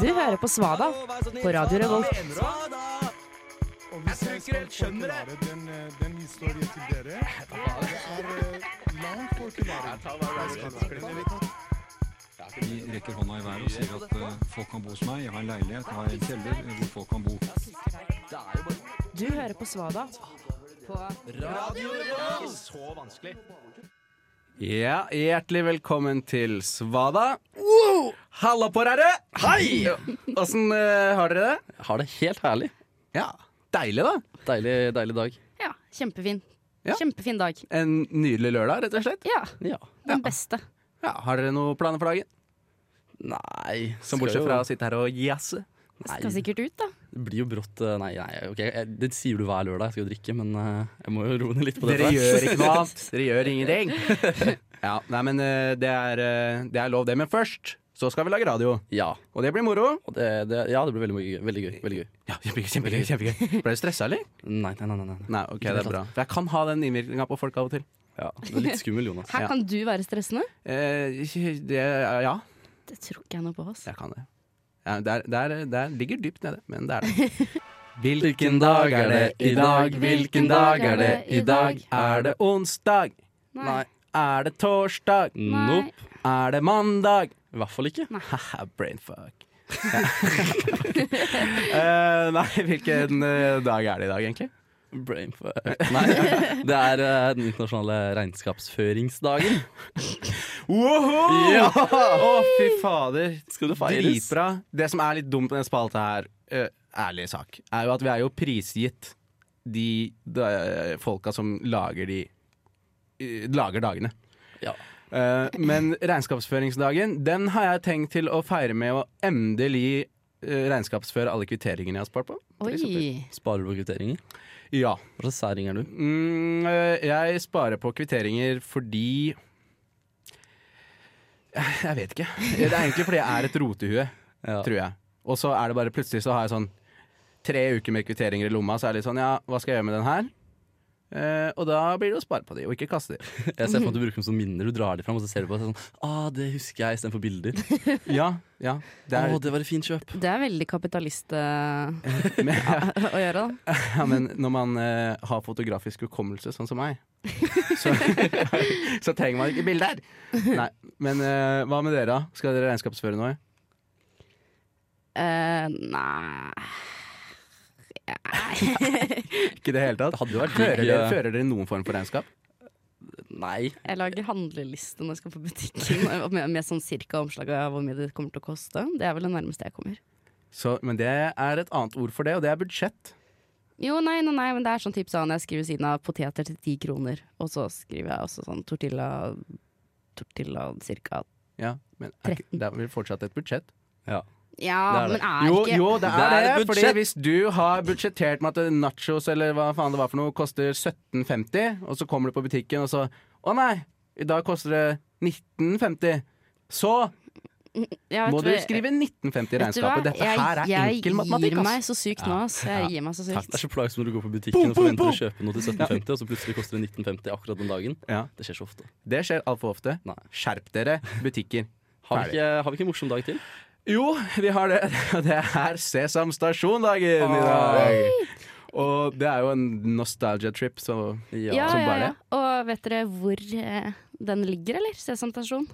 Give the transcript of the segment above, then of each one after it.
Du hører på Svada på Radio Revolt. Og hvis jeg skal skjønner forklare den, eh, den historien til dere Det er eh, lang forklaring. De rekker hånda i været og sier at eh, folk kan bo hos meg, jeg har en leilighet, jeg har en kjeller eh, hvor folk kan bo. Du hører på Svada. Ja, hjertelig velkommen til Svada. Wow! Halla på dere! Hei! Åssen eh, har dere det? Har det helt herlig. Ja, Deilig, da. Deilig, deilig dag. Ja, kjempefin. Ja. Kjempefin dag. En nydelig lørdag, rett og slett. Ja, Ja. den beste. Ja, Har dere noen planer for dagen? Nei Som bortsett fra å sitte her og jazze. Skal Nei, sikkert ut, da. det blir jo brått eh, Nei, nei ok, jeg, det sier du hver lørdag. Jeg skal jo drikke, men eh, jeg må jo roe ned litt på det. Dere etter hvert. gjør ikke noe annet. Dere gjør ingenting. Ja, nei, men eh, det er, eh, det er lov, det. Men først så skal vi lage radio. Ja. Og det blir moro. Og det, det, ja, det blir veldig gøy. Veldig gøy. Veldig gøy. Ja, kjempegøy, kjempegøy, kjempegøy. Ble du stressa, eller? Nei, nei, nei. nei, nei. Nei, ok, det er bra. For jeg kan ha den innvirkninga på folk av og til. Ja, du er litt skummel, Jonas. Her Ja. kan du være stressende. Eh, det, ja, Det tror ikke jeg noe på. Oss. Jeg kan det. Ja, der, der, der ligger dypt nede, men det er det. Hvilken dag er det i dag? Hvilken dag er det i dag? Er det onsdag? Nei. Er det torsdag? Nei. Nope. Er det mandag? I hvert fall ikke. Haha, brainfuck. Ja. Eh, nei, hvilken eh, dag er det i dag, egentlig? Brain for... Nei, det er eh, den internasjonale regnskapsføringsdagen. Woho! Ja! Å, fy fader. Skal du feires? Dritbra. Det som er litt dumt med den spalta her, eh, ærlig sak, er jo at vi er jo prisgitt de, de folka som lager de eh, Lager dagene. Ja. Eh, men regnskapsføringsdagen, den har jeg tenkt til å feire med å endelig eh, regnskapsføre alle kvitteringene jeg har spart på. for eksempel. Oi. Sparer du på kvitteringer? Ja. Hva slags særing er du? Mm, øh, jeg sparer på kvitteringer fordi Jeg vet ikke. Det er egentlig fordi jeg er et rotehue, Ja. tror jeg. Og så er det bare plutselig så har jeg sånn tre uker med kvitteringer i lomma, så er det litt sånn ja, hva skal jeg gjøre med den her? Eh, og da blir det å spare på de, og ikke kaste de. Jeg ser for meg at du bruker dem som minner. Du drar dem fram og så ser du på det og så er det sånn ah, det husker jeg istedenfor bilder. Ja, ja. Det Å, er, det var et fint kjøp. Det er veldig kapitalist eh, men, ja, å gjøre, da. men når man eh, har fotografisk hukommelse, sånn som meg, så, så trenger man ikke bilder. Nei, men eh, hva med dere, da? Skal dere regnskapsføre noe? Eh, nei Ikke i det hele tatt? Det hadde jo vært Fører digg, dere, eh, fører dere noen form for regnskap? Nei. Jeg lager handleliste når jeg skal på butikken, og med, med sånn cirka omslag av hvor mye det kommer til å koste. Det er vel det nærmeste jeg kommer. Så, men det er et annet ord for det, og det er budsjett. Jo, nei, nei, nei, men det er sånn tips sånn, jeg skriver siden av poteter til ti kroner, og så skriver jeg også sånn tortilla, tortilla cirka. Ja, men er ikke, det er vel fortsatt et budsjett? Ja. Ja, Det er det. men er jo, ikke jo, det er Det det. er fordi et budsjett. hvis du har budsjettert med at nachos eller hva faen det var for noe, koster 17,50, og så kommer du på butikken, og så Å nei, i dag koster det 19,50. Så Ja, vet må du hva- skrive 19,50 i vet du hva? regnskapet. Dette her er jeg, enkel Jeg matematikk. gir meg Ass. så sykt nå, ass. Jeg gir meg så Det er sykt. så plagsomt når du går på butikken og forventer å kjøpe noe til 1750, og så plutselig koster det 1950 akkurat den dagen. Ja, Det skjer så ofte. det skjer altfor ofte. Nei. Skjerp dere, butikker. Har vi ikke, har vi ikke en morsom dag til? Jo, vi har det. Og det er Sesam Stasjon-dagen i dag. Og det er jo en nostalgia-trip, så Ja, ja, som ja, bare Og vet dere hvor eh, den ligger, eller? Sesam stasjon?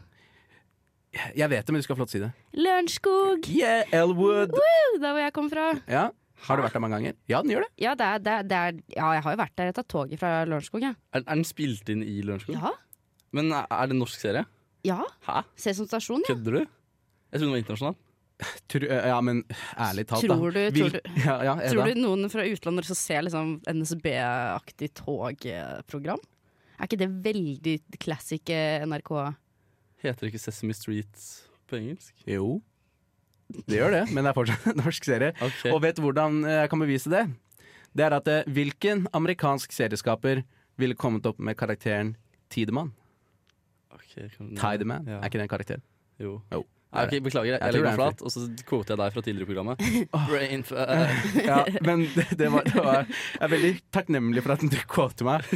Jeg vet det, men du skal få lov til å si det. Lørenskog! Yeah, Elwood! Der hvor jeg kom fra. Ja. Har du vært der mange ganger? Ja, den gjør det. Ja, det er, det er, det er, ja jeg har jo vært der. Jeg tar toget fra Lørenskog, jeg. Er, er den spilt inn i Mm. Lørenskog? Ja. Men er, er det en norsk serie? ja. Hæ? Sesam stasjon, ja. Kødder du? Jeg trodde den var internasjonal. Tror, eh, ja, men ærlig talt, Tror da. du- tror Vil- du- ja, ja, Edda. Tror du noen fra utlandet som ser liksom NSB-aktig togprogram? Er ikke det veldig classic eh, NRK? Heter det ikke Sesame Street på engelsk? Jo. Det gjør det, men det er fortsatt en norsk serie. Ok. Og vet du hvordan eh, jeg kan bevise det? Det er at eh, hvilken amerikansk serieskaper ville kommet opp med karakteren Tidemann? Ok, kan- Tideman, Mm. Ja. er ikke det en karakter? Jo. Jo. Nei, ok, beklager, jeg, Jeg jeg tror det er legger meg en flat, og så kvoter jeg deg fra tidligere i programmet. Brain f- Ja, men det, det, var, det var Jeg er veldig takknemlig for at du quoter meg.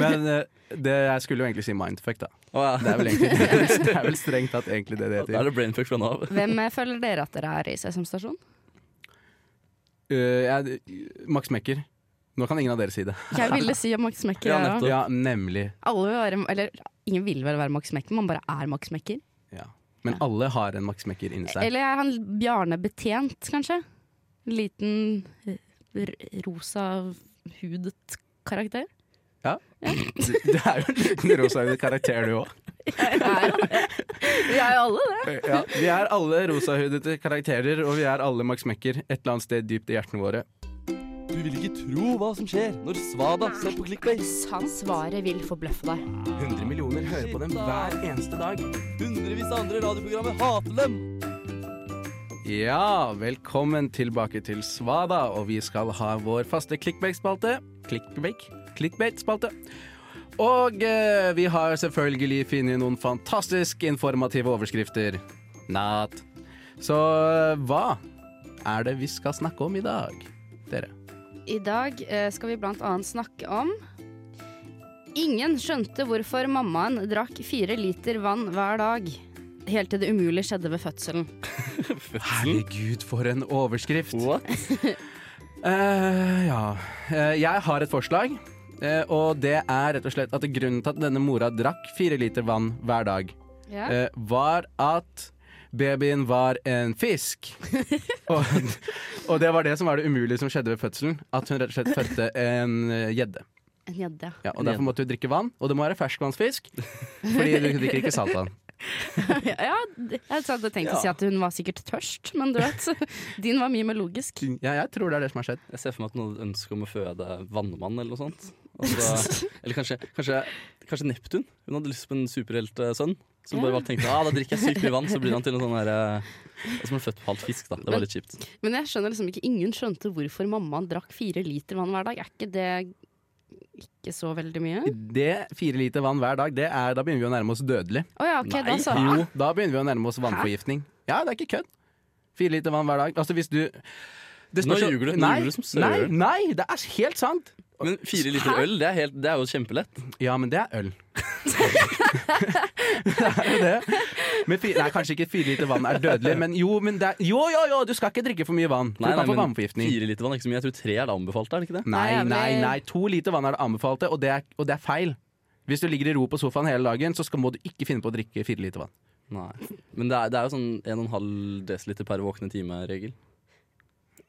Men eh, det, jeg skulle jo egentlig si mindfuck, da. Å ja. Det er vel, egentlig, det er vel strengt tatt egentlig det det Da er heter. det brainfuck fra nå av. Hvem eh, føler dere at dere er i Sesam stasjon? Eh, jeg, Max Mekker. Nå kan ingen av dere si det. Jeg ville si om Max Mekker. Ja, jeg nettopp. også. Ja, nemlig. Alle vil være, eller ingen vil vel være Max Mekker, man bare er Max Mekker. Ja. Men alle har en Max Mekker inni seg. Eller er han Bjarne Betjent, kanskje? Liten r rosa hudet karakter. Du, du er jo en liten rosahudet karakter, du òg. Jeg er jo det. Vi er jo alle det. Ja, vi er alle rosahudete karakterer, og vi er alle Max Mekker et eller annet sted dypt i hjertene våre. Du vil ikke tro hva som skjer når Svada ser på Clickbase. Svaret vil forbløffe deg. 100 millioner hører på dem hver eneste dag. Hundrevis av andre radioprogrammer hater dem. Ja, velkommen tilbake til Svada, og vi skal ha vår faste clickbait-spalte. Clickbait? Clickbait-spalte. Og eh, vi har selvfølgelig funnet noen fantastisk informative overskrifter. Not. Så eh, hva er det vi skal snakke om i dag, dere? I dag eh, skal vi blant annet snakke om Ingen skjønte hvorfor mammaen drakk fire liter vann hver dag. Helt til det umulige skjedde ved fødselen. Herregud, for en overskrift. What? Eh, ja. Eh, jeg har et forslag. eh, og det er rett og slett at grunnen til at denne mora drakk fire liter vann hver dag, Ja. eh, var at babyen var en fisk. og, og det var det som var det umulige som skjedde ved fødselen. At hun rett og slett fødte en eh, gjedde. En gjedde. ja, og derfor måtte hun drikke vann. Og det må være ferskvannsfisk, fordi du drikker ikke saltvann. Ja, ja, jeg hadde tenkt å si at hun var sikkert tørst, men du vet. Din var mye mer logisk. Ja, jeg tror det er det som har skjedd. Jeg ser for meg at noen hadde ønske om å føde vannmann eller noe sånt. Altså, eller kanskje, kanskje, kanskje Neptun. Hun hadde lyst på en superheltsønn. Som bare tenkte ah, da drikker jeg sykt mye vann, så blir han til en sånn derre Som er født på halvt fisk, da. Det var litt kjipt. Men jeg skjønner liksom ikke Ingen skjønte hvorfor mammaen drakk fire liter vann hver dag. Er ikke det ikke så veldig mye? Det fire liter vann hver dag, det er, da begynner vi å nærme oss dødelig. Å ja, ok, da Nei, så. Jo, da begynner vi å nærme oss vannforgiftning. Ja, det er ikke kødd. Fire liter vann hver dag. Altså, hvis du Det Nå spørs jo- ljuger du. Nå Nei, ljuger du som nei, søren. nei, det er helt sant! Men fire liter øl, det er, helt, det er jo kjempelett. Ja, men det er øl. det er jo det. Men fire, nei, kanskje ikke fire liter vann er dødelig, men jo, men det er, jo, jo, jo, du skal ikke drikke for mye vann. for Nei, du kan nei, få men vannforgiftning. Fire liter vann er ikke så mye. Jeg tror tre er det anbefalte, er det ikke det? Nei, Nei, nei, jeg ble- nei. To liter vann er det anbefalte, og det er, og det er feil. Hvis du ligger i ro på sofaen hele dagen, så skal, må du ikke finne på å drikke fire liter vann. Nei. Men det er, det er jo sånn 1,5 dl per våkne time-regel.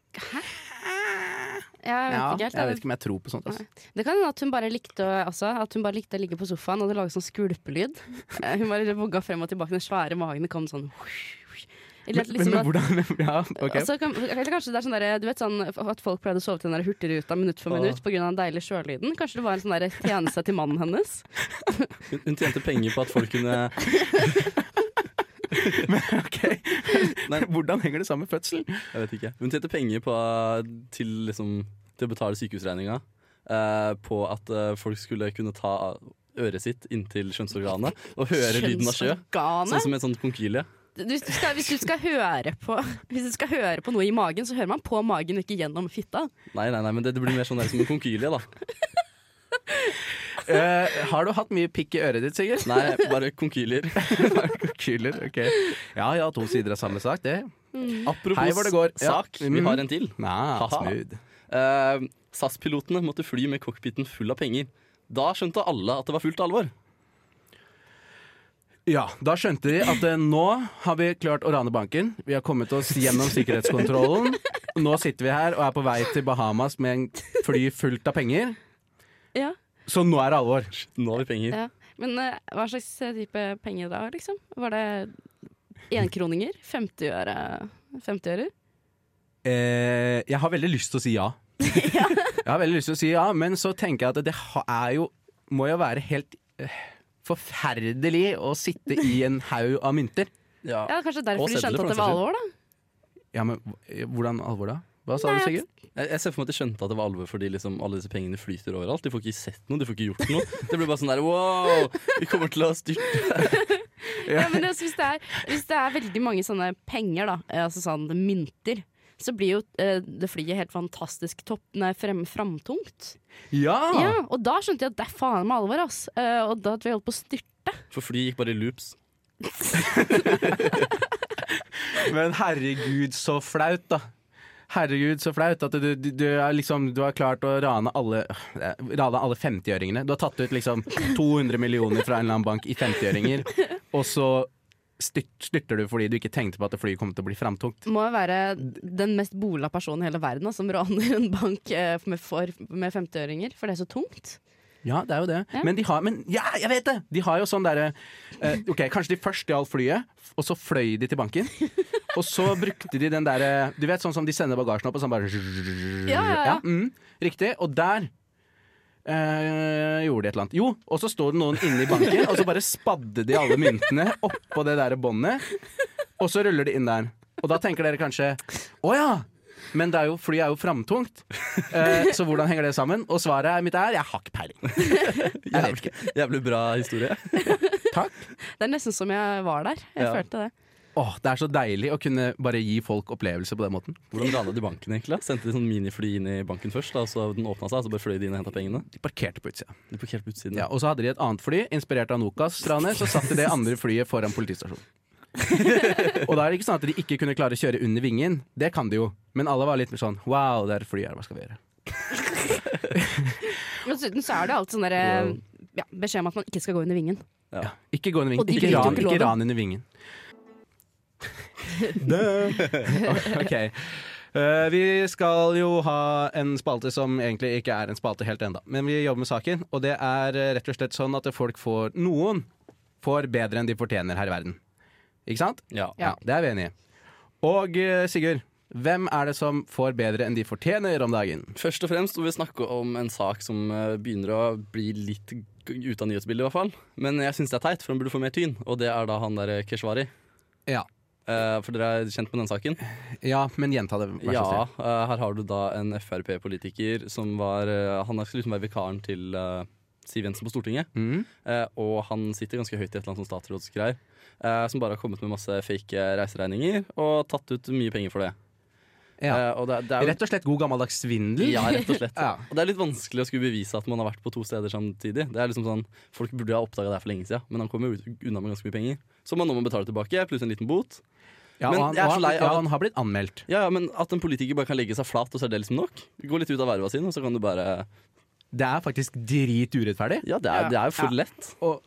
Jeg vet Ja, ikke jeg helt. jeg vet ikke om jeg tror på sånt. Altså. Det kan hende at hun bare likte å, altså, At hun bare likte å ligge på sofaen og det lagde sånn skvulpelyd. Eh, Hun bare vogga frem og tilbake, den svære magen det kom sånn Eller, at Men, liksom, men at, hvordan ja, ok. altså, kan, eller kanskje det er sånn der, Du vet sånn at folk pleide å sove til den der hurtigruta minutt for minutt pga. den deilige sjølyden? Kanskje det var en sånn der tjeneste til mannen hennes? Hun, hun tjente penger på at folk kunne Ok. Nei. Hvordan henger det sammen med fødsel? Jeg vet ikke. Hun tjente penger på, til, liksom, til å betale sykehusregninga eh, på at eh, folk skulle kunne ta øret sitt inntil kjønnsorganet og høre lyden av sjø. Sånn Kjønnsorganet? som en sånn konkylie. Hvis du, skal, hvis, du skal høre på, hvis du skal høre på noe i magen, så hører man på magen, ikke gjennom fitta. Nei, nei, nei, men det, det blir mer sånn der som en konkylie, da. Eh, har du hatt mye pikk i øret ditt, Sigurd? Nei, bare konkylier. Kyler, ok. Ja ja, to sider av samme sak, det. Apropos Hei, hvor det går. Ja. sak, Mm. vi har en til. Nei, Haha. smooth. Eh, SAS-pilotene måtte fly med cockpiten full av penger. Da skjønte alle at det var fullt alvor. Ja, da skjønte de at eh, nå har vi klart å rane banken. Vi har kommet oss gjennom sikkerhetskontrollen. Nå sitter vi her og er på vei til Bahamas med en fly fullt av penger. Ja. Så nå er det alvor. Nå har vi penger. Ja. Men eh, hva slags eh, type penger da, liksom? Var det enkroninger? 50-øre? 50-ører? Eh, jeg har veldig lyst til å si ja. jeg har veldig lyst til å si ja, men så tenker jeg at det ha- er jo Må jo være helt eh, forferdelig å sitte i en haug av mynter. Ja, kanskje derfor Og de skjønte sedler, for at det den var saks alvor, da. Ja, men hv- eh, hvordan alvor da? Hva sa du, Sigurd? Jeg, jeg ser for meg at de skjønte at det var alvor fordi liksom alle disse pengene flyter overalt. De får ikke sett noe, de får ikke gjort noe. Det blir bare sånn der wow, vi kommer til å styrte. Ja, men altså, hvis, det er, hvis det er veldig mange sånne penger, da, eh, altså sånn mynter, så blir jo eh, det flyet helt fantastisk topp, nei, frem, framtungt. Ja! Ja, og da skjønte jeg at det er faen meg alvor, ass. Eh, og da tror jeg holdt på å styrte. For flyet gikk bare i loops. Men herregud, så flaut, da. Herregud, så flaut at du, du, du, er liksom, du har klart å rane alle, eh, rane alle 50-øringene. Du har tatt ut liksom 200 millioner fra en eller annen bank i 50-øringer, og så styrt, styrter du fordi du ikke tenkte på at flyet kom til å bli framtungt. Må jo være den mest bola personen i hele verden da, som raner en bank eh, med, for, med 50-øringer, for det er så tungt. Ja, det er jo det. Ja. Men de har Men ja, jeg vet det! De har jo sånn derre eh, OK, kanskje de først stjal flyet, f- og så fløy de til banken. Og så brukte de den derre Du vet sånn som de sender bagasjen opp, og sånn bare Ja, ja, ja. mm, Riktig. Og der eh, gjorde de et eller annet. Jo, og så sto det noen inne i banken, og så bare spadde de alle myntene oppå det derre båndet, og så ruller de inn der. Og da tenker dere kanskje Å ja! Men det er jo, flyet er jo framtungt, eh, så hvordan henger det sammen? Og svaret mitt er jeg har ikke peiling. Jeg vet ikke. Jævlig bra historie. Takk. Det er nesten som jeg var der. Jeg Ja. følte det. Åh, det er så deilig å kunne bare gi folk opplevelse på den måten. Hvordan rana de banken egentlig? da? Sendte de sånn minifly inn i banken først, da, og så den åpna seg, og så bare fløy de inn og henta pengene? De parkerte på utsida. De parkerte på utsiden. Ja, og så hadde de et annet fly, inspirert av Nokas-ranet, så satte det andre flyet foran politistasjonen. og da er det ikke sånn at de ikke kunne klare å kjøre under vingen. Det kan de jo. Men alle var litt mer sånn wow, det er et fly her, hva skal vi gjøre? Men Dessuten så er det alltid sånn derre ja, beskjed om at man ikke skal gå under vingen. Ja. Ikke gå Og under vingen. de Ikke brøt jo ran, ikke ikke loven. ran under vingen. ok. Eh, vi skal jo ha en spalte som egentlig ikke er en spalte helt enda men vi jobber med saken. Og det er eh, rett og slett sånn at folk får Noen får bedre enn de fortjener her i verden. Ikke sant? Ja. Ja. Det er vi enige i. Og eh, Sigurd, hvem er det som får bedre enn de fortjener om dagen? Først og fremst vil vi snakke om en sak som eh, begynner å bli litt g- ute av nyhetsbildet, i hvert fall. Men jeg syns det er teit, for han burde få mer tyn. Og det er da han der eh, Keshvari. Ja. Eh, for dere er kjent med den saken? Ja, men gjenta det, vær så Ja, snill. eh, her har du da en Frp-politiker som var eh, Han skulle liksom være vikaren til eh, Siv Jensen på Stortinget. Mm. Eh, og han sitter ganske høyt i et eller annet sånt statsrådsgreier. eh, som bare har kommet med masse fake eh, reiseregninger og tatt ut mye penger for det. Ja. Eh, og det, er- det er jo, Rett og slett god gammeldags svindel. Ja, rett og slett. Ja. Og det er litt vanskelig å skulle bevise at man har vært på to steder samtidig. Det er liksom sånn, Folk burde ha oppdaga det her for lenge siden, men han kommer jo ut- unna med ganske mye penger. Som man nå må betale tilbake, pluss en liten bot. Ja, Men og han, jeg er og så han, lei av ja, at- han har blitt anmeldt. Ja, ja, Men at en politiker bare kan legge seg flat, og så er det liksom nok? Gå litt ut av verva sin, og så kan du bare Det er faktisk drit urettferdig. Ja, det er, Ja. det er jo for Ja. lett. Og,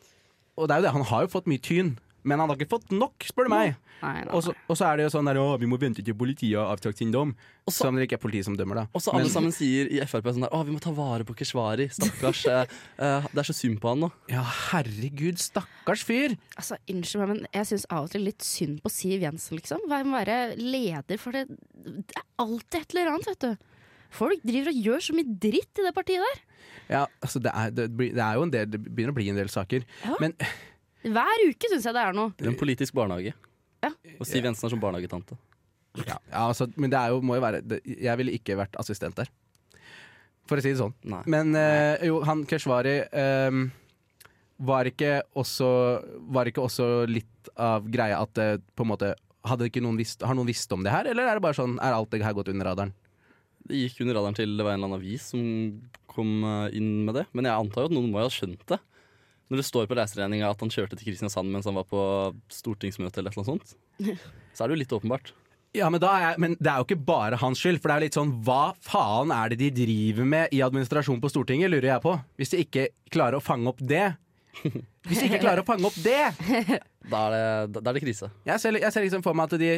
og det er jo det, han har jo fått mye tyn, men han har ikke fått nok, spør du meg. Nei, nei, nei. Og så og så er det jo sånn der Å, vi må vente til politiet har avtagt sin dom. Og så- Som det ikke er politiet som dømmer, da. Og så alle sammen sier i Frp sånn der Å, vi må ta vare på Keshvari. Stakkars. eh, eh, det er så synd på han nå. Ja, herregud, stakkars fyr! Altså, Unnskyld meg, men jeg syns av og til litt synd på Siv Jensen, liksom. Hva med å være leder for det Det er alltid et eller annet, vet du. Folk driver og gjør så mye dritt i det partiet der. Ja, altså det er, det, blir- det er jo en del Det begynner å bli en del saker. Ja. Men Hver uke syns jeg det er noe. Det er en politisk barnehage. Ja. Og Siv Jensen er som barnehagetante. ja, ja, altså, men det er jo, må jo være det, Jeg ville ikke vært assistent der. For å si det sånn. Nei. Men eh, jo, han Keshvari ehm, var, ikke også, var ikke også litt av greia at eh, på en måte hadde ikke noen visst, Har noen visst om det her, eller er det bare sånn Er alt det her gått under radaren? Det gikk under radaren til det var en eller annen avis som kom eh, inn med det. Men jeg antar jo at noen må jo ha skjønt det. Når det står på reiseregninga at han kjørte til Kristiansand mens han var på stortingsmøte eller et eller annet sånt, så er det jo litt åpenbart. Ja, men, da er jeg, men det er jo ikke bare hans skyld. For det er jo litt sånn Hva faen er det de driver med i administrasjonen på Stortinget, lurer jeg på. Hvis de ikke klarer å fange opp det. Hvis de ikke klarer å fange opp det! Da er det, da- da er det krise. Jeg ser, jeg ser liksom for meg at de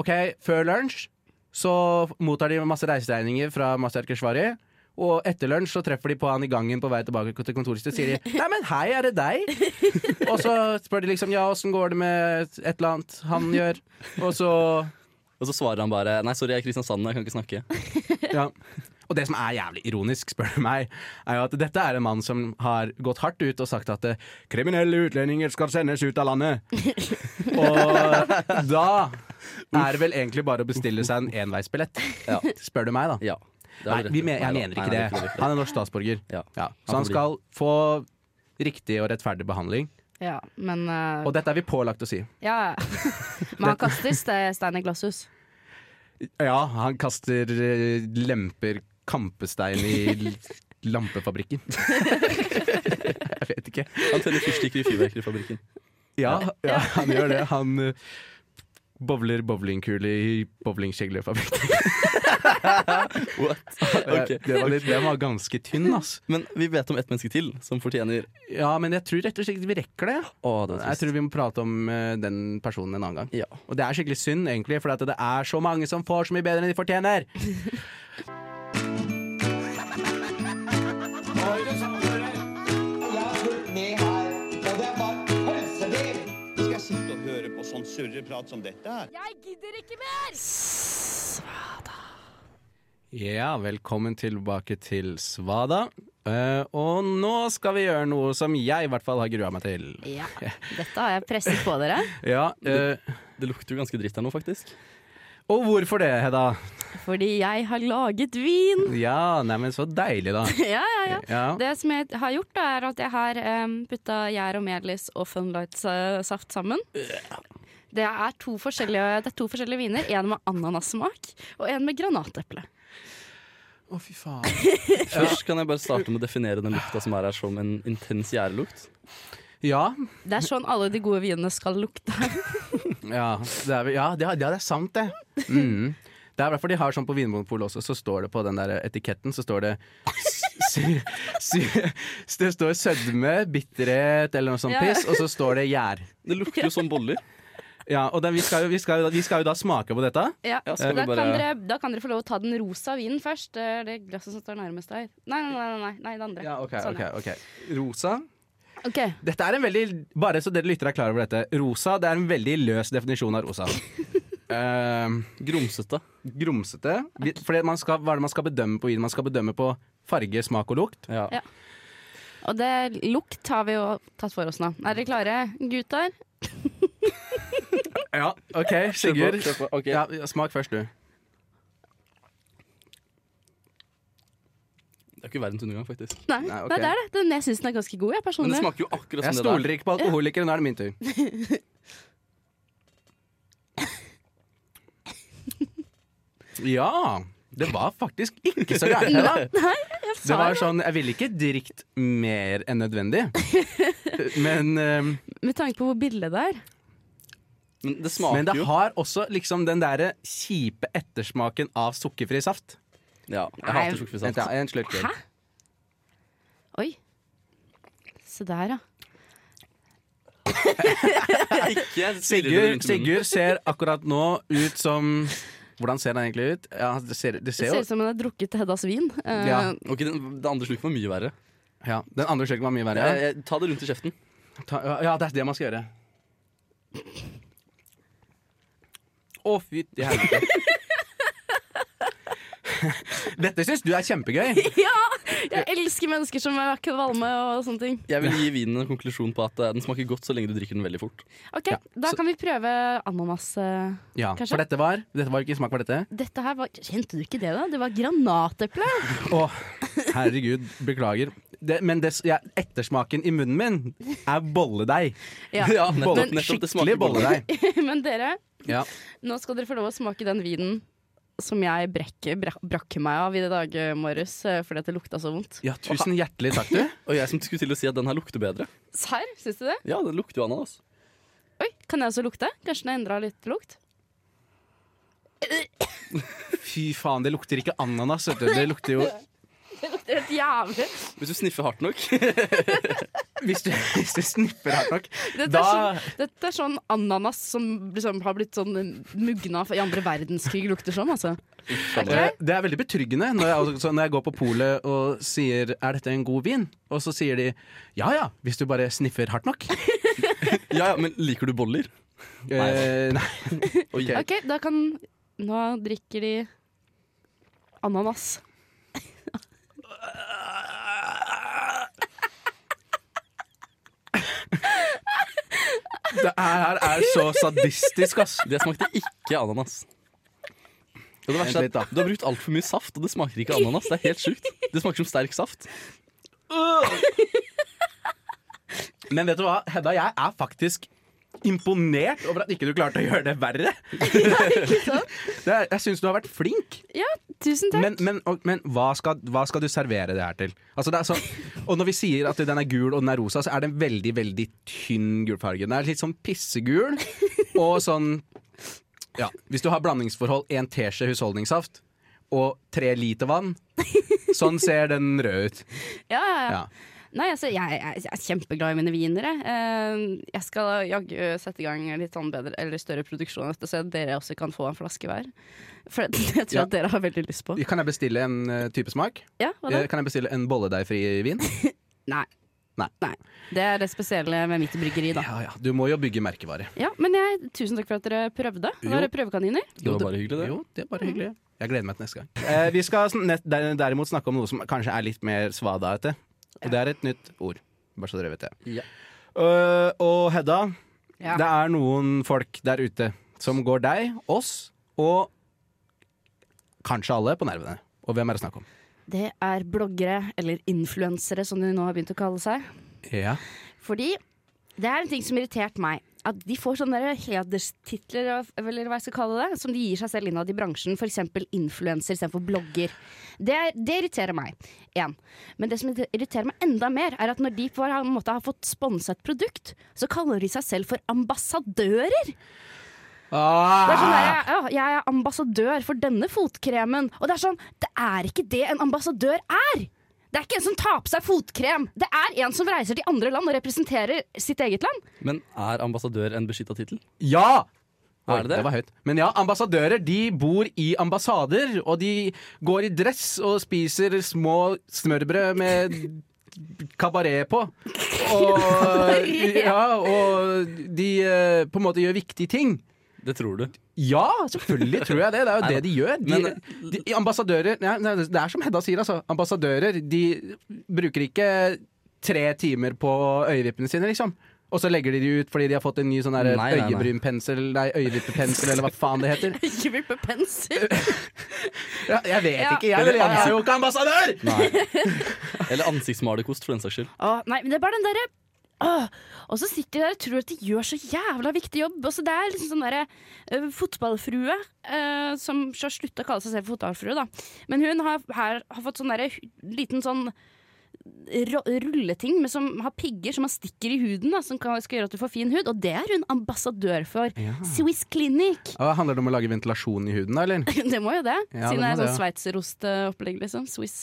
Ok, før lunsj så mottar de masse reiseregninger fra Mazyar Keshvari. Og etter lunsj så treffer de på han i gangen på vei tilbake til kontoret sitt og sier de, 'Nei, men hei, er det deg?' og så spør de liksom 'Ja, åssen går det med et eller annet han gjør?' Og så Og så svarer han bare Nei, sorry, jeg er i Kristiansand, jeg kan ikke snakke. Ja. Og det som er jævlig ironisk, spør du meg, er jo at dette er en mann som har gått hardt ut og sagt at eh, 'kriminelle utlendinger skal sendes ut av landet'. og da er vel egentlig bare å bestille seg en enveisbillett. Ja. Spør du meg, da. Ja. det har Nei, du rett vi i. mener, jeg Nei da. mener ikke Nei, nei, det. det er ikke Han er norsk statsborger. Ja. Ja. Så Han han får bli. skal få riktig og rettferdig behandling. Ja, men eh, Og dette er vi pålagt å si. ja. ja. Men han kaster ste- stein i glasshus. Ja, han kaster eh, lemper, kampestein i l- lampefabrikken. jeg vet ikke. Han tenner fyrstikker i fyrverkerifabrikken. Ja, ja, han gjør det. Han eh, bowler bowlingkule i bowlingkjeglefabrikken. What? Okay. Ok. Den, var litt- den var ganske tynn, altså. ass. Men vi vet om ett menneske til som fortjener Ja, men jeg tror rett og slett vi rekker det. Å, det Jeg var trist. tror vi må prate om eh, den personen en annen gang. Ja. Og det er skikkelig synd, egentlig, for at det er så mange som får så mye bedre enn de fortjener. Ja, velkommen tilbake til Svada. Eh, og nå skal vi gjøre noe som jeg i hvert fall har grua meg til. Ja. Dette har jeg presset på dere. Ja, eh, Det lukter jo ganske dritt her nå, faktisk. Og hvorfor det, Hedda? Fordi jeg har laget vin. Ja, neimen så deilig, da. Ja, ja, ja. Ja. Det som jeg har gjort, da, er at jeg har um, putta gjær og melis og Funlight-saft sammen. Det er, to forskjellige, det er to forskjellige viner. En med ananassmak og en med granateple. Å, fy faen. Først kan jeg bare starte med å definere den lukta som er her som en intens gjærlukt. Ja, Det er sånn alle de gode vinene skal lukte. Ja, det er, vel- ja, det, er- ja, det er sant, det. Mm. Det er derfor de har sånn på Vinmonopolet også, så står det på den der etiketten så står det s- s- s- Det står sødme, bitterhet eller noe sånt Ja. piss, og så står det gjær. Det lukter jo som boller. Ja, og den, vi, skal jo, vi, skal jo, da- vi skal jo da smake på dette. Ja. Ja, Så skal vi da, kan bare- dere, da kan dere få lov å ta den rosa vinen først. Det er det glasset som står nærmest der. Nei, nei, nei, nei, nei det andre. Ja, ok, Sånn, ok, ok Rosa. Ok. Dette er en veldig Bare så dere lytter er klar over dette. Rosa det er en veldig løs definisjon av rosa. Ehm, Grumsete. grumsete. Vi- Fordi man skal, hva er det man skal bedømme på vin? Man skal bedømme på farge, smak og lukt. Ja. Ja. Og det lukt har vi jo tatt for oss nå. Er dere klare, gutter? Ja, ok, Sigurd. Kjør på, kjør på, ok. Ja, ja, smak først, du. Det er ikke verdens undergang, faktisk. Nei, Nei, ok. nei det er det. Den, jeg syns den er ganske god, jeg Men det personlig. smaker jo akkurat Jeg som det stoler ikke på alkoholikere, nå er det min tur. Ja. Det var faktisk ikke så gærent. Hedda. Det var sånn, Jeg ville ikke drikt mer enn nødvendig, men, eh, Med tanke på hvor billig det er. der. Men det men smaker det jo har også liksom den derre kjipe ettersmaken av sukkerfri saft. Ja, jeg Nei. hater Vent, sukkerfisk. ja, en slurk til. Hæ? Oi. Se der, ja. Ikke svirre det Sigurd, rundt i munnen. Sigurd ser akkurat nå ut som Hvordan ser han egentlig ut? Ja, det ser, det Det ser ser jo ut som hun har drukket Heddas vin. Eh, Ja. Ok, den, Det andre slukket var mye verre. ja, Den andre slurken var mye verre. Jeg, jeg, ta det rundt i kjeften. Ta, ja, ja, det er det man skal gjøre. Å, fytti helvete. Dette syns du er kjempegøy. Jeg elsker mennesker som er kvalme og sånne ting. Jeg vil gi vinen en konklusjon på at eh, den smaker godt så lenge du drikker den veldig fort. Ok, Ja, Da så- kan vi prøve ananas. eh. Ja, Kanskje? For dette var Dette var ikke smak for dette. Dette her var Kjente du ikke det, da? Det var granateple. Å, herregud. Beklager. Det, men det, ja, ettersmaken i munnen min er bolledeig. Ja. Bolle, nettopp, nettopp, det skikkelig smaker bolledeig. Men dere, Ja. nå skal dere få lov å smake den vinen som jeg brekke, brak, brakk meg av i dag eh, morges eh, fordi at det lukta så vondt. ja, tusen hjertelig takk, du. Og jeg som skulle til å si at den her lukter bedre. Serr, syns du det? Ja, den lukter jo ananas. Oi, kan jeg også lukte? Kanskje den har endra litt lukt? Fy faen, det lukter ikke ananas. Vet du. Det lukter jo Det lukter helt jævlig. Hvis du sniffer hardt nok. Hvis du, hvis du sniffer hardt nok, Dette er, da sånn, dette er sånn ananas som liksom har blitt sånn mugna i andre verdenskrig, lukter som, altså. Er ikke Eh, det? Det er veldig betryggende når jeg, altså, når jeg går på polet og sier 'er dette en god vin?' Og så sier de 'ja ja, hvis du bare sniffer hardt nok'. Ja, ja, Men liker du boller? Eh, nei. Oi. Ok. OK, da kan Nå drikker de ananas. Det her er så sadistisk, ass. Det smakte ikke ananas. Og det verste Vent litt, er da. at Du har brukt altfor mye saft, og det smaker ikke ananas. Det er helt sjukt. Det smaker som sterk saft. Men vet du hva, Hedda, jeg er faktisk imponert over at ikke du klarte å gjøre det verre. Det er, jeg syns du har vært flink, Tusen takk. men, men, og, men hva, skal, hva skal du servere det her til? Altså, det er sånn, og når vi sier at den er gul og den er rosa, så er den veldig, veldig tynn gulfarge. Den er litt sånn pissegul og sånn Ja, hvis du har blandingsforhold én teskje husholdningssaft og tre liter vann, sånn ser den rød ut. ja, ja, ja. Ja. Nei, altså, jeg, jeg, jeg er kjempeglad i mine viner. Jeg, Eh, jeg skal jaggu sette i gang litt sånn bedre, eller større produksjon, av dette, så dere også kan få en flaske hver. For det, det tror jeg Ja. at dere har veldig lyst på. Kan jeg bestille en eh, type smak? Ja, hva da? Eh, Kan jeg bestille en bolledeigfri vin? Nei. Nei. Det er det spesielle med mitt bryggeri, da. Ja, ja. Du må jo bygge merkevare. Ja, men jeg, tusen takk for at dere prøvde. Jo. Var det prøvekaniner? Det var bare hyggelig, det. Jo, det er bare hyggelig. Jeg gleder meg til neste gang. Eh, vi skal sn- nett- der- derimot snakke om noe som kanskje er litt mer svadaete. Og det er et nytt ord. Bare så dere vet det. Ja. Eh, og Hedda, Ja. det er noen folk der ute som går deg, oss og kanskje alle på nervene. Og hvem er det snakk om? Det er bloggere, eller influensere som de nå har begynt å kalle seg. Ja. Fordi det er en ting som irriterte meg. At de får sånne der hederstitler, eller hva jeg skal kalle det, som de gir seg selv innad i bransjen. F.eks. influenser istedenfor blogger. Det, er- det irriterer meg. En. Men det som irriterer meg enda mer, er at når de på en måte har fått sponsa et produkt, så kaller de seg selv for ambassadører. Ah! Det er sånn der, ja, jeg er ambassadør for denne fotkremen. Og det er sånn, det er ikke det en ambassadør er! Det er ikke en som tar på seg fotkrem! Det er en som reiser til andre land og representerer sitt eget land. Men er ambassadør en beskytta tittel? ja! Er det det? var høyt. Men ja, ambassadører de bor i ambassader, og de går i dress og spiser små smørbrød med kabaret på. Og, ja, og de eh, på en måte gjør viktige ting. Det tror du. Ja, selvfølgelig tror jeg det. Det er jo Nei da. det de gjør. De, Men- de, ambassadører nei, nei, Det er som Hedda sier, altså. Ambassadører de bruker ikke tre timer på øyevippene sine, liksom. Og så legger de de ut fordi de har fått en ny sånn der Nei, nei, nei. øyebrynpensel, nei, øyevippepensel, eller hva faen det heter. Ikke vippe pensel. Ja, jeg vet Ja. ikke, jeg. Jeg er jo ikke ambassadør! Nei. Eller ansiktsmalerkost, for den saks skyld. Åh, nei, men det er bare den derre Åh, og så sitter de der og tror at de gjør så jævla viktig jobb. Og så det er liksom sånn derre øh, fotballfrue øh, som har slutta å kalle seg selv fotballfrue, da. Men hun har her har fått sånn derre hu- liten sånn ro- rulleting med som har pigger som man stikker i huden, da, som kan, skal gjøre at du får fin hud. Og det er hun ambassadør for. Swiss Clinic. Og handler det om å lage ventilasjon i huden, da, eller? det må jo det. Ja, det siden det må er det, sånn sveitserostopplegg, liksom. Swiss.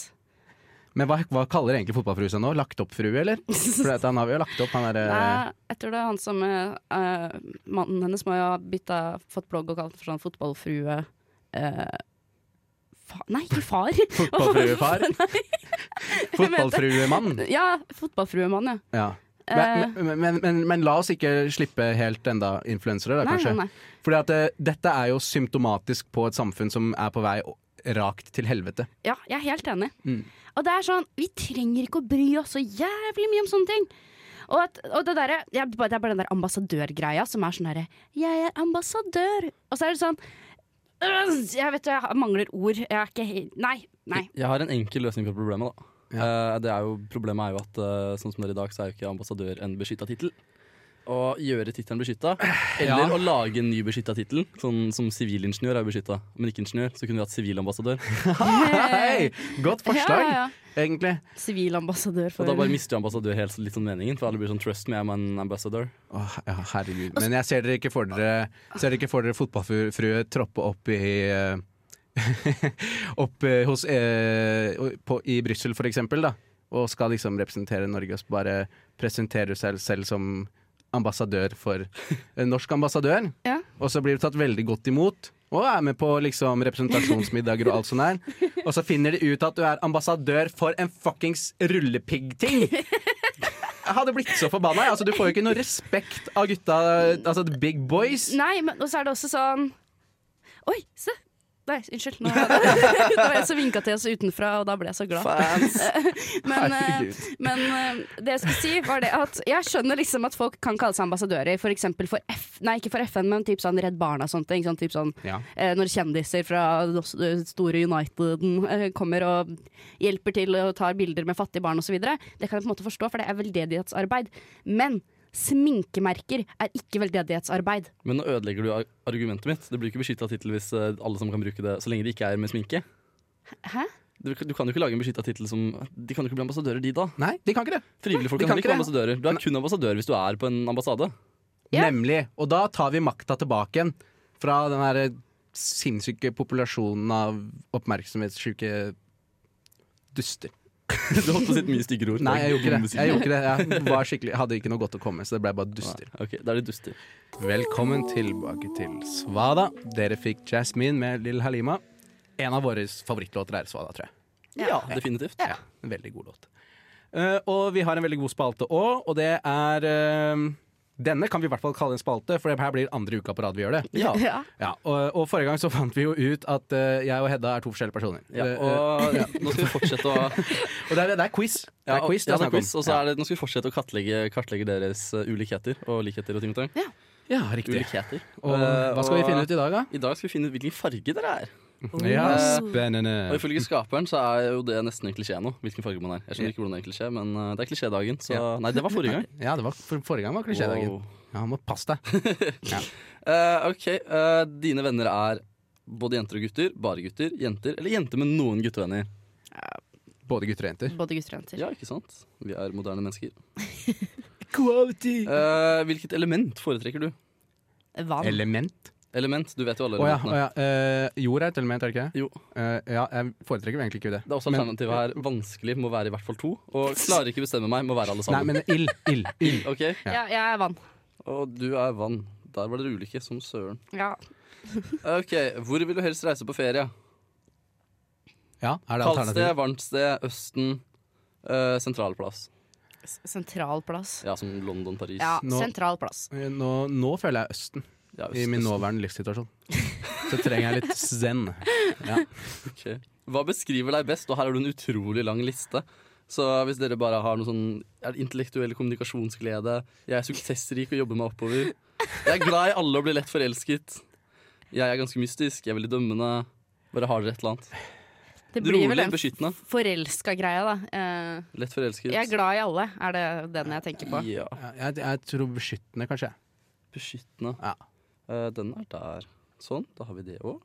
Men hva, hva kaller egentlig fotballfrue seg nå? Lagt opp frue, eller? For at han har jo lagt opp, han eh, derre Nei, jeg tror det er han som eh, eh, Mannen hennes må jo ha bytta, fått blogg og kalt for sånn fotballfrue eh, fa Nei, ikke far! fotballfruefar. Fotballfruemann. ja, fotballfruemann, ja. Ja. Eh. Men, men, men, men, men la oss ikke slippe helt enda influensere, da, Nei, kanskje. nei, nei. Fordi at eh, dette er jo symptomatisk på et samfunn som er på vei å- rakt til helvete. Ja, jeg er helt enig. Mm. Og det er sånn, vi trenger ikke å bry oss så jævlig mye om sånne ting. Og, at, og det, derre- ja, det er bare- det er bare den der ambassadørgreia som er sånn herre Jeg er ambassadør! Og så er det sånn øh, Jeg vet du, jeg mangler ord. Jeg er ikke helt Nei. nei. Jeg har en enkel løsning på problemet. da Eh, det er jo, Problemet er jo at eh, sånn som det er i dag, så er jo ikke ambassadør en beskytta tittel. Å gjøre tittelen beskytta, eller å lage en ny beskytta tittel. Sånn som sivilingeniør er beskytta, men ikke ingeniør. Så kunne vi hatt sivilambassadør. Hei! Godt forslag, Ja, ja, ja. egentlig. Sivilambassadør Og for da bare mister jo ambassadør helt litt sånn meningen, for alle blir sånn 'trust me, I'm an ambassador'. Åh, ja, herregud. Men jeg ser dere ikke for dere, ser dere, ikke for dere fotballfrue troppe opp i eh, Opp eh, hos eh, på, I Brussel, for eksempel, da. Og skal liksom representere Norge og bare presentere seg selv som ambassadør for en norsk ambassadør. Ja. Og så blir du tatt veldig godt imot. Og er med på liksom representasjonsmiddager og alt sånt der. Og så finner de ut at du er ambassadør for en fuckings rullepiggting! Jeg hadde blitt så forbanna. jeg. Altså, du får jo ikke noe respekt av gutta, altså the big boys. Nei, men og så er det også sånn Oi, se! Nei, unnskyld. Nå det var en som vinka til oss utenfra, og da ble jeg så glad. Fans! Men, eh, men eh, det jeg skulle si, var det at jeg skjønner liksom at folk kan kalle seg ambassadører, for eksempel for F... Nei, ikke for FN, men typ sånn Redd Barna og sånt. Ikke sant? Typ sånn Ja. eh, når kjendiser fra dos- store Uniteden eh, kommer og hjelper til og tar bilder med fattige barn osv. Det kan jeg på en måte forstå, for det er veldedighetsarbeid. Men sminkemerker er ikke veldedighetsarbeid. Men nå ødelegger du ar- argumentet mitt. Det blir ikke beskytta tittel hvis eh, alle som kan bruke det, så lenge det ikke er med sminke. Hæ? Du, du kan jo ikke lage en beskytta tittel som De kan jo ikke bli ambassadører, de da. Nei, de kan ikke det. Frivillige folk De kan kan ikke være ikke ambassadører. Du er kun ambassadør hvis du er på en ambassade. Ja. Nemlig. Og da tar vi makta tilbake igjen fra den her sinnssyke populasjonen av oppmerksomhetssjuke duster. Du holdt på å si et mye styggere ord. Nei, jeg gjorde ikke det. Jeg, gjorde ikke det. jeg var skikkelig, hadde ikke noe godt å komme med, så det ble bare duster. Nei, ok, Da er det duster. Velkommen tilbake til Svada. Dere fikk Jasmine med Lill Halima. En av våre favorittlåter er Svada, tror jeg. Ja, definitivt. Ja, en veldig god låt. Eh, og vi har en veldig god spalte òg, og det er eh, Denne kan vi i hvert fall kalle en spalte, for det her blir andre uka på rad vi gjør det. Ja. Ja, og, og forrige gang så fant vi jo ut at eh, jeg og Hedda er to forskjellige personer. Ja, Det- og nå skal vi fortsette å eh, og det er, det er quiz. Det ja, er quiz det er ja, det er snakk om. quiz, og så er det, Nå skal vi fortsette å kartlegge, kartlegge deres eh, ulikheter og likheter og ting og tang. Ja, riktig. Ulikheter. Eh, Og um, hva skal vi finne ut i dag, da? I dag skal vi finne ut hvilken farge dere er. Ja, Eh, Og spennende. ifølge skaperen så er jo det nesten en klisjé nå. Hvilken farge man er. Jeg skjønner ikke hvordan det er en klisjé, men eh, det er klisjédagen. Så Ja. nei, det var forrige gang. Ja, det var, for, forrige gang var klisjédagen. Wow. Ja, må passe deg. Eh, ok, eh, dine venner er både jenter og gutter, bare gutter, jenter eller jenter med noen guttevenner. Både gutter og jenter. Både gutter og jenter. Ja, ikke sant? Vi er moderne mennesker. Quality! hvilket element foretrekker du? Vann. Element. Element, du vet jo alle Å ja. å elementene. ja. eh, jord er et element, er det ikke det? Jo. Eh, ja, jeg foretrekker jo egentlig ikke det. Det er også Men- alternativet her. Vanskelig må være i hvert fall to. Og klarer ikke bestemme meg, må være alle Nei, sammen. men ild. Ild. ild. Ok, Ja, jeg er vann. Og du er vann. Der var dere ulike, som søren. Ja. Ok, Hvor vil du helst reise på ferie? Ja, er det Kaldt sted, alternativet? varmt sted, Østen, eh, sentral plass. S- Sentral plass. Ja, som London, Paris. Ja, Nå- sentral plass. Eh, Nå, nå føler jeg Østen Ja, i Øst- min Østen. nåværende livssituasjon. Så trenger jeg litt zen. Ok. Hva beskriver deg best? Og her har du en utrolig lang liste. Så hvis dere bare har noe sånn er det intellektuell kommunikasjonsglede Jeg er suksessrik og jobber meg oppover. Jeg er glad i alle og blir lett forelsket. Jeg er ganske mystisk, jeg er veldig dømmende. Bare har dere et eller annet. Det blir vel Rolig, den beskyttende, forelska greia, da. Eh, lett forelsket. jeg er glad i alle, er det den jeg tenker på. Ja, Ja, Jeg, jeg tror beskyttende, kanskje. beskyttende. Ja. Eh, den er der. Sånn, da har vi det òg.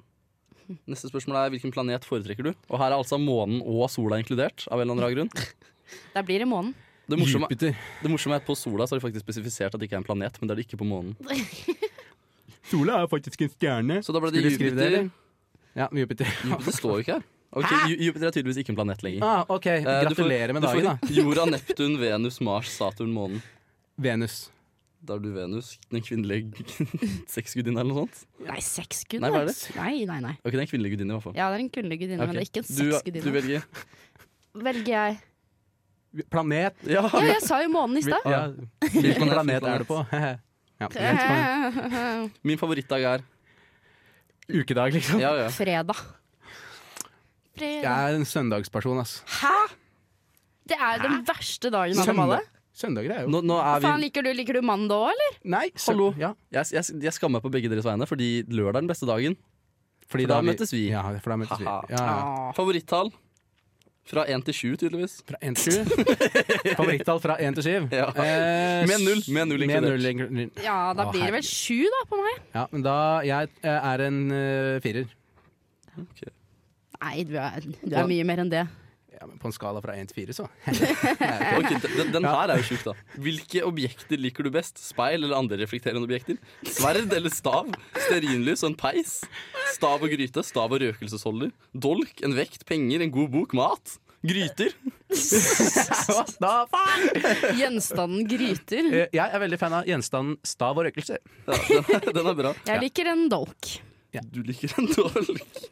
Neste spørsmål er hvilken planet foretrekker du? Og her er altså månen og sola inkludert. av en eller annen rar grunn. Der blir det månen. Det morsomme, Jupiter. det morsomme er at på sola så har de faktisk spesifisert at det ikke er en planet, men det er det ikke på månen. Sola er faktisk en stjerne. Så da ble det Skulle du skrive det, Jupiter. eller? Ja, Jupiter. Jupiter står jo ikke her. Ok, Ju- Jupiter er tydeligvis ikke en planet lenger. Ah, ok, Eh, du får- Gratulerer med du får dagen, da. Jorda, Neptun, Venus, Mars, Saturn, månen. Venus. Da er du Venus, den kvinnelige gu- sexgudinnen eller noe sånt. Nei, sexgud. Nei, hva er Nei, nei, nei. Ok, det er en kvinnelig gudinne i hvert fall. Ja, det er en kvinnelig gudinne, Ok. men det er ikke en du, du sexgudinne. velger Velger jeg Planet. Ja! Ja, jeg sa jo månen i Hvil- stad. ja. Hvilken planet er du på? Ja, planet. Min favorittdag er Ukedag, liksom. Ja, ja. Fredag. Fredag. Jeg er en søndagsperson, ass. Hæ?! Det er den verste dagen av dem alle. Søndag- Søndager er jo Nå, nå er Hva faen, vi liker du, liker du mandag òg, eller? Nei, sø- Hallo. Ja. jeg, jeg, jeg skammer meg på begge deres vegne, fordi lørdag er den beste dagen. Fordi da har møtes vi. Ja, for da møtes vi. Ja, Haha. ja. Favorittall? Fra én til sju, tydeligvis. Fra 1 til 7. Favorittall fra 1 til 7. Ja. Med null, med null inkludert. null inkludert. Ja, da Å, blir det herregud. vel sju, da, på meg. Ja, men da Jeg eh, er en eh, firer. Nei, du er, du er mye mer enn det. Ja, men på en skala fra 1 til 4, så. Ok, den, den her er jo sjuk, da. Hvilke objekter liker du best? Speil eller andre reflekterende objekter? Sverd eller stav? Stearinlys og en peis? Stav og gryte? Stav og røkelsesholder? Dolk? En vekt? Penger? En god bok? Mat? Gryter? Da, faen! Gjenstanden gryter. Eh, Jeg er veldig fan av gjenstanden stav og røkelse. Ja, den, den er bra. Jeg liker en dolk. Du liker en dolk.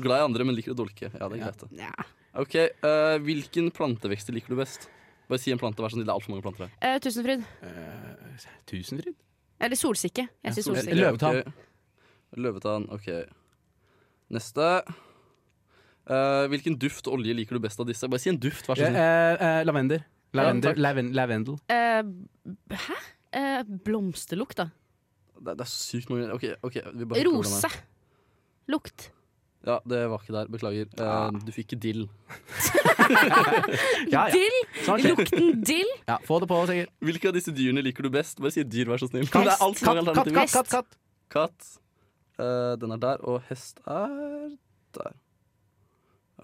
Glad i andre, men liker å dolke. Ja, det er greit. det. Ja. Ok, eh, Hvilken plantevekster liker du best? Bare si en plante, vær så snill. Det er altfor mange planter her. Eh, tusenfryd. Eh, Tusenfryd? Eh, Eller solsikke. Jeg sier sol- solsikke. Løvetann. Ok. Løvetann, ok. Neste. Eh, hvilken duft og olje liker du best av disse? Bare si en duft, vær så Eh, snill. eh, lavender. Lavender, Ja, takk. laven, lavendel. Eh, b- hæ? Eh, blomsterlukt, da. Det, er- det er så sykt mange Ok, ok, vi bare rekker hvordan det er. Rose. Lukt. Ja, det var ikke der. Beklager. Eh, Ah. du fikk ikke dill. Ja, ja. Dill. Sånn skjer. Lukten dill. ja. Få det på, Sigurd. Hvilke av disse dyrene liker du best? Bare si et dyr, vær så snill. Katt, Det er alt for Katt, mange katt, alternativer. katt, katt, katt. Katt. Eh, den er der, og hest er der.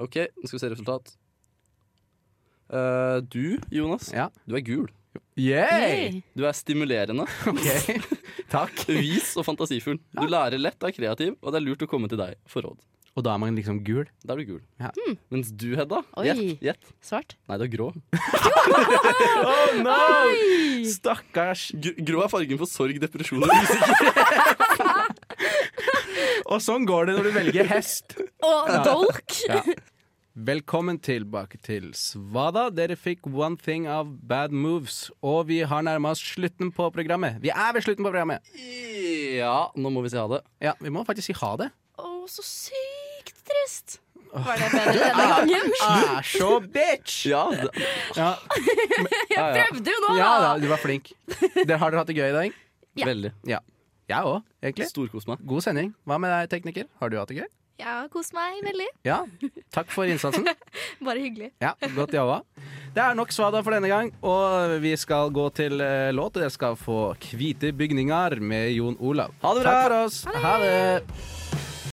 OK, nå skal vi se resultat. Eh, du, Jonas, Ja. du er gul. Yay! Hey. Du er stimulerende, Ok. Takk. vis og fantasifull. Du lærer lett, er kreativ, og det er lurt å komme til deg for råd. Og da er man liksom gul. Da er du gul. Ja. Mens du, Hedda, Oi. gjett. gjett. Svart. Nei, du er grå. Oh no! Stakkars. Gr grå er fargen for sorg, depresjon og usikkerhet. Og sånn går det når du velger hest. Og dolk. Velkommen tilbake til Svada. Dere fikk One Thing av Bad Moves. Og vi har nærma oss slutten på programmet. Vi er ved slutten på programmet. Ja, nå må vi si ha det. Ja, Vi må faktisk si ha det. Å, så sykt trist. Var det bedre denne gangen? Er så bitch! Ja, det, Ja, ja, ja. Prøvde jo nå, ja da, da. du var flink. Dere Har dere hatt det gøy i dag? Ja. Veldig. Jeg òg, egentlig. Storkos meg. God sending. Hva med deg, tekniker? Har du hatt det gøy? Ja, kos meg veldig. Ja. Takk for innsatsen. Bare hyggelig. Ja, Godt jobba. Det er nok svada for denne gang, og vi skal gå til eh, låt. Dere skal få 'Kvite bygningar' med Jon Olav. Ha det bra. Takk for oss. Ha det.